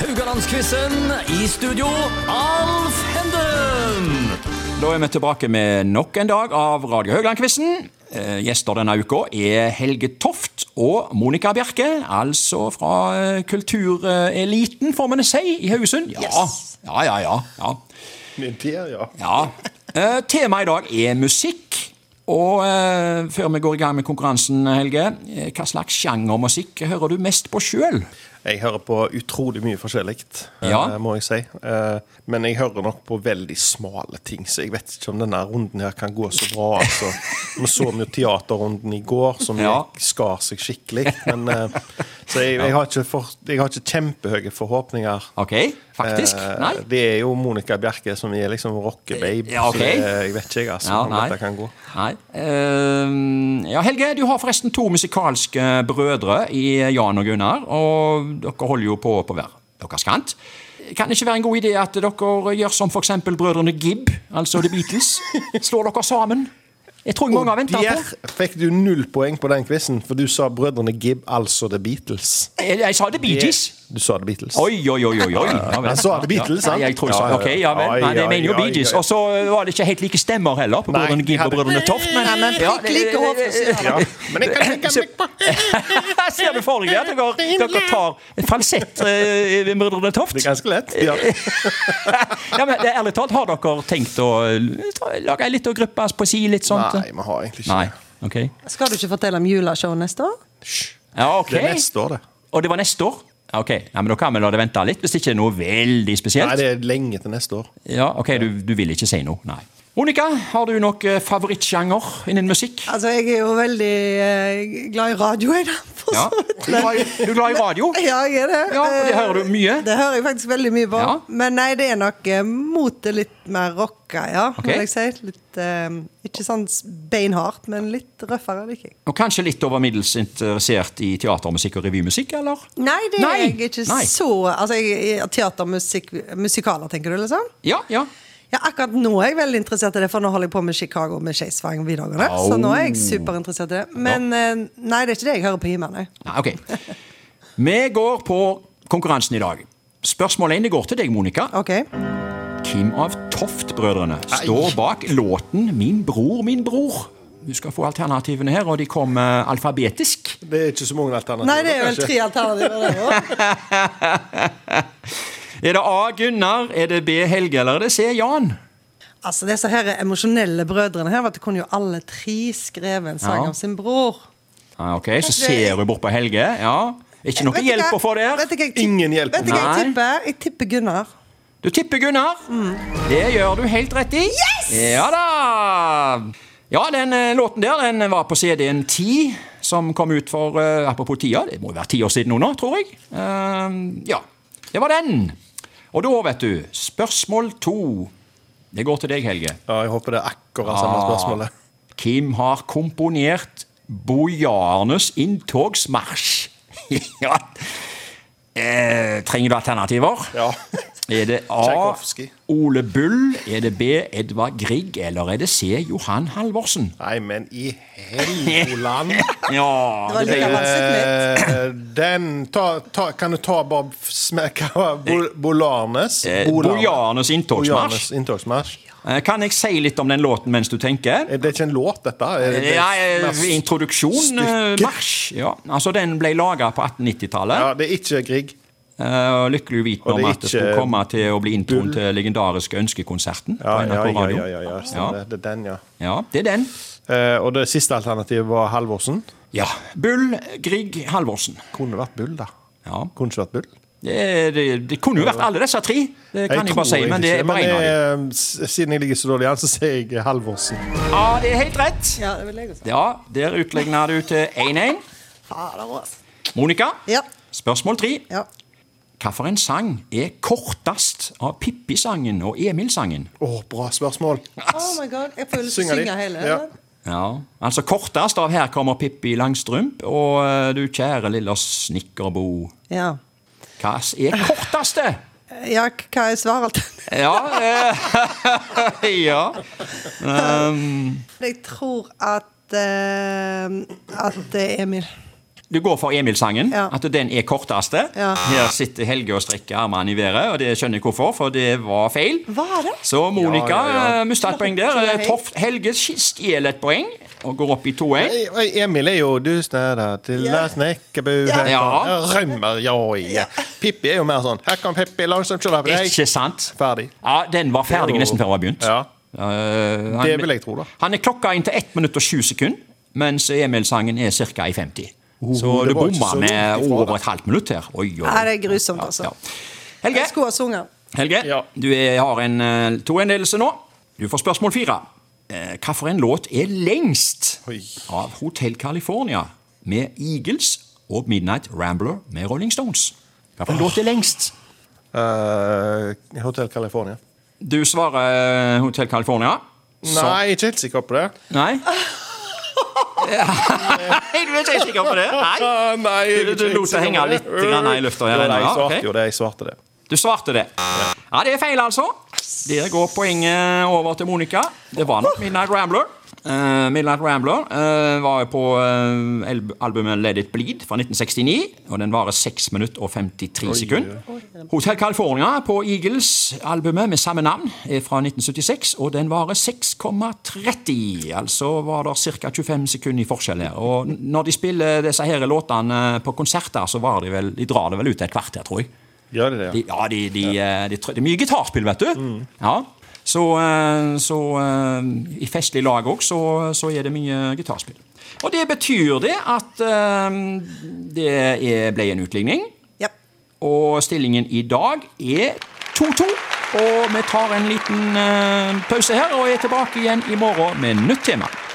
Rogalandsquizen i studio, Alf Henden! Da er vi tilbake med nok en dag av Radio Haugland-quizen. Eh, Gjester denne uka er Helge Toft og Monica Bjerke, altså fra eh, kultureliten, får vi det si, i Haugesund. Ja, ja, ja. ja, ja. Der, ja. ja. Eh, Temaet i dag er musikk. Og eh, før vi går i gang med konkurransen, Helge, eh, hva slags sjangermusikk hører du mest på sjøl? Jeg hører på utrolig mye forskjellig, eh, Ja. må jeg si. Eh, Men jeg hører nok på veldig smale ting, så jeg vet ikke om denne runden her kan gå så bra. Altså. Vi så jo teaterrunden i går, som Ja. gikk- skar seg skikkelig. Men, eh, så jeg, jeg, har ikke for, jeg har ikke kjempehøye forhåpninger. OK, faktisk? Eh, Nei? Det er jo Monica Bjerke som er liksom rockebabe. Ja, ok. så det- jeg vet ikke, jeg, altså, Ja, om nei. dette kan gå. Nei. Eh, ja, Helge, du har forresten to musikalske brødre i Jan og Gunnar, og dere holder jo på på hver deres kant. Kan det ikke være en god idé at dere gjør som f.eks. brødrene Gibb, altså The Beatles? Slår dere sammen? Jeg tror mange har venta Der på fikk du null poeng på den quizen, for du sa Brødrene Gibb, altså The Beatles. Jeg, jeg sa The Beatles. Du sa The Beatles. Oi, oi, oi. oi, oi. Ja, vel. Han sa The Beatles, ja, sant? jeg tror så. Ja, ja, ja. Ok, ja vel. Nei, jeg Oi, mener jo oi, Bee Gees. oi, oi. Og så var det ikke helt like stemmer heller på Nei, brødrene de Gibb og hadde- brødrene Toft. Men, men ja, like overfrisørene. Ja. Men jeg kan legge meg på Ser du for deg det? At dere, dere tar falsett eh, ved Mødrene Toft? Det er ganske lett. Ja. Ja, men det, er ærlig talt, har dere tenkt å eh, ta- lage ei lita gruppe poesi, litt sånt? Nei, vi har egentlig ikke Nei. det. Ok. Skal du ikke fortelle om juleshow neste år? Ja, ok. Det er neste år, det. Og det var neste år? Ja, Ok, ja, men Da kan vi la det vente litt, hvis det ikke er noe veldig Nei, spesielt. det er lenge til neste år. Ja, ok, Du, du vil ikke si noe? Nei. Monica, har du noen eh, favorittsjanger innen musikk? Altså, jeg er jo veldig eh, glad i radio, jeg, da. For Ja. så Du vidt. er glad i du er glad i radio? Ja, jeg er det. Eh, Ja, og det hører du mye? Det hører jeg faktisk veldig mye på. Ja. Men nei, det er nok eh, mot det litt mer rocka, ja. Ok. Vil jeg si. Litt, eh, ikke sånn s- beinhardt, men litt røffere liker jeg. Og kanskje litt over middels interessert i teatermusikk og revymusikk, eller? Nei, det er Nei, jeg ikke nei. så Altså, jeg, jeg- teatermusikk Musikaler, tenker du, liksom? Ja, ja. Ja, akkurat nå er jeg veldig interessert i det, for nå holder jeg på med Chicago med Skeisvang videregående. Så nå er jeg superinteressert i det. Men eh, nei, det er ikke det jeg hører på hjemme, nei. Nei, ok. Vi går på konkurransen i dag. Spørsmål 1 går til deg, Monica. Ok. Hvem av Toft-brødrene står bak låten 'Min bror, min bror'? Du skal få alternativene her, og de kommer alfabetisk. Det er ikke så mange alternativer. Nei, det er vel kanskje. tre alternativer der òg. Er det A. Gunnar, er det B. Helge, eller er det C. Jan? Altså, disse her emosjonelle brødrene her, vet du, kunne jo alle tre skrevet en sang Ja. om sin bror. Ja, ok, Så ser du bort på Helge. ja. Ikke noe Vet du hjelp hva- å få der. Vet du hva jeg tipp- Ingen hjelp. Vet du hva jeg Nei. tipper? Jeg tipper Gunnar. Du tipper Gunnar. Det gjør du helt rett i. Yes! Ja da! Ja, den eh, låten der den var på CD-en 10, som kom ut for eh, Apropos tida, det må jo være ti år siden nå, nå, tror jeg. Eh, ja, det var den. Og da, vet du, spørsmål to. Det går til deg, Helge. Ja, jeg håper det er akkurat samme Ah. spørsmålet. Hvem har komponert bojarnes inntogsmarsj? ja. Eh, trenger du alternativer? Ja. Er det A. Tchaikovsky. Ole Bull? Er det B. Edvard Grieg? Eller er det C. Johan Halvorsen? Nei, men i Helgoland Ja, Det var det litt ble jo vanskelig. eh, Den ta, ta, Kan du ta bare f- smekka Bo- Bolarnes? Eh, Bojarnes inntogsmarsj. Bojarnes inntogsmarsj. Eh, Kan jeg si litt om den låten mens du tenker? Er Eh, Det er ikke en låt, dette? Er det- det er Ja, eh, mest- introduksjon, eh, stykke? marsj. Ja, altså Den ble laga på 1890-tallet. Ja, det er ikke Grieg. Eh, og lykkelig uvitende Og om det er at det ikke skulle komme til å bli introen til legendariske Ønskekonserten. Ja, på ja, NRK ja, Radio. ja, ja, ja, stemmer det. Det er den, ja. ja, det er den. Eh, og det siste alternativet var Halvorsen. Ja. Bull, Grieg, Halvorsen. Kunne vært Bull, da. Ja. Kunne ikke vært Bull. Det, det, det kunne jo vært alle disse tre, det kan jeg, bare si, men det er bare en av dem. av eh, Siden jeg ligger så dårlig an, så sier jeg Halvorsen. Ja, det er helt rett. Ja, det vil jeg også. Ja, der utligna du til 1-1. Fader, altså. Monica, Ja. spørsmål tre. ja. Hvilken sang er kortest av Pippi-sangen og Emil-sangen? Å, bra spørsmål. Oh my god. Jeg får jo lyst til å Synger de? synge hele. Ja. eller? Ja, altså kortest av 'Her kommer Pippi Langstrømpe' og eh, 'Du kjære lille snekkerbo'. ja. Hva er korteste? Ja, k- hva er svaralternativet? Ja, eh, ja. Jeg tror at eh, At det er Emil. Du går for Emil-sangen, Ja. at den er korteste. Ja. Her sitter Helge og strekker armene i været, og det skjønner jeg hvorfor, for det var feil. Hva er det? Så Monica Ja, ja, ja. eh, mistet et poeng der. Eh, Toft Helge stjeler et poeng og går opp i 2-1. Ei, ei, Emil er jo du snæra til la snekkerbu Ja. Ja. Rømmer, ja, ja. Pippi er jo mer sånn Her kommer Pippi, langsomt kjør på deg. Ikke sant? Ferdig. Ja, Den var ferdig nesten før den var begynt. Ja. Eh, han, Det vil jeg tro, da. Han er klokka inn til 1 minutt og 7 sekunder, mens Emil-sangen er ca. i 50. så Oh, det du var ikke bomma så langt med ifra, over da. et halvt minutt her. Oi, oi. Nei, det er grusomt, altså. Helge, Jeg skulle ha sunget. Helge Ja. du er, har en eh, 2-1-ledelse nå. Du får spørsmål fire. Eh, hva for en låt er lengst Oi. av Hotel California med Eagles og Midnight Rambler med Rolling Stones? Hva for en låt er lengst? Eh, Hotel California. Du svarer eh, Hotel California. Så- Nei, ikke helt sikker på det. Nei? Nei, du er ikke helt sikker på det? Nei. Ah, nei, jeg er Du- du ikke helt lot det sikker henge på det. litt grann i lufta, ja, Ja, den, nei, ja, jeg ok. svarte jo det. Jeg svarte det. Du svarte det. Ja, det er feil, altså. Der går poenget over til Monica. Det var nok Midnight Rambler. Eh, Midnight Rambler eh, var jo på eh, elb- albumet Let It Bleed fra 1969, og den varer 6 minutter og 53 sekunder. Hotel California på Eagles-albumet med samme navn er fra 1976, og den varer 6,30. Altså var det ca. 25 sekunder i forskjell her. Og n- når de spiller disse her låtene på konserter, så varer de vel, de drar det vel ut et kvarter, tror jeg. Gjør det det? De, ja, de, de, eh, de, trø- det er mye gitarspill, vet du. Ja. Så, eh, så eh, i festlig lag òg, så, så er det mye gitarspill. Og det betyr det at eh, det er, ble en utligning. Ja. Og stillingen i dag er 2-2. Og vi tar en liten eh, pause her og er tilbake igjen i morgen med nytt tema.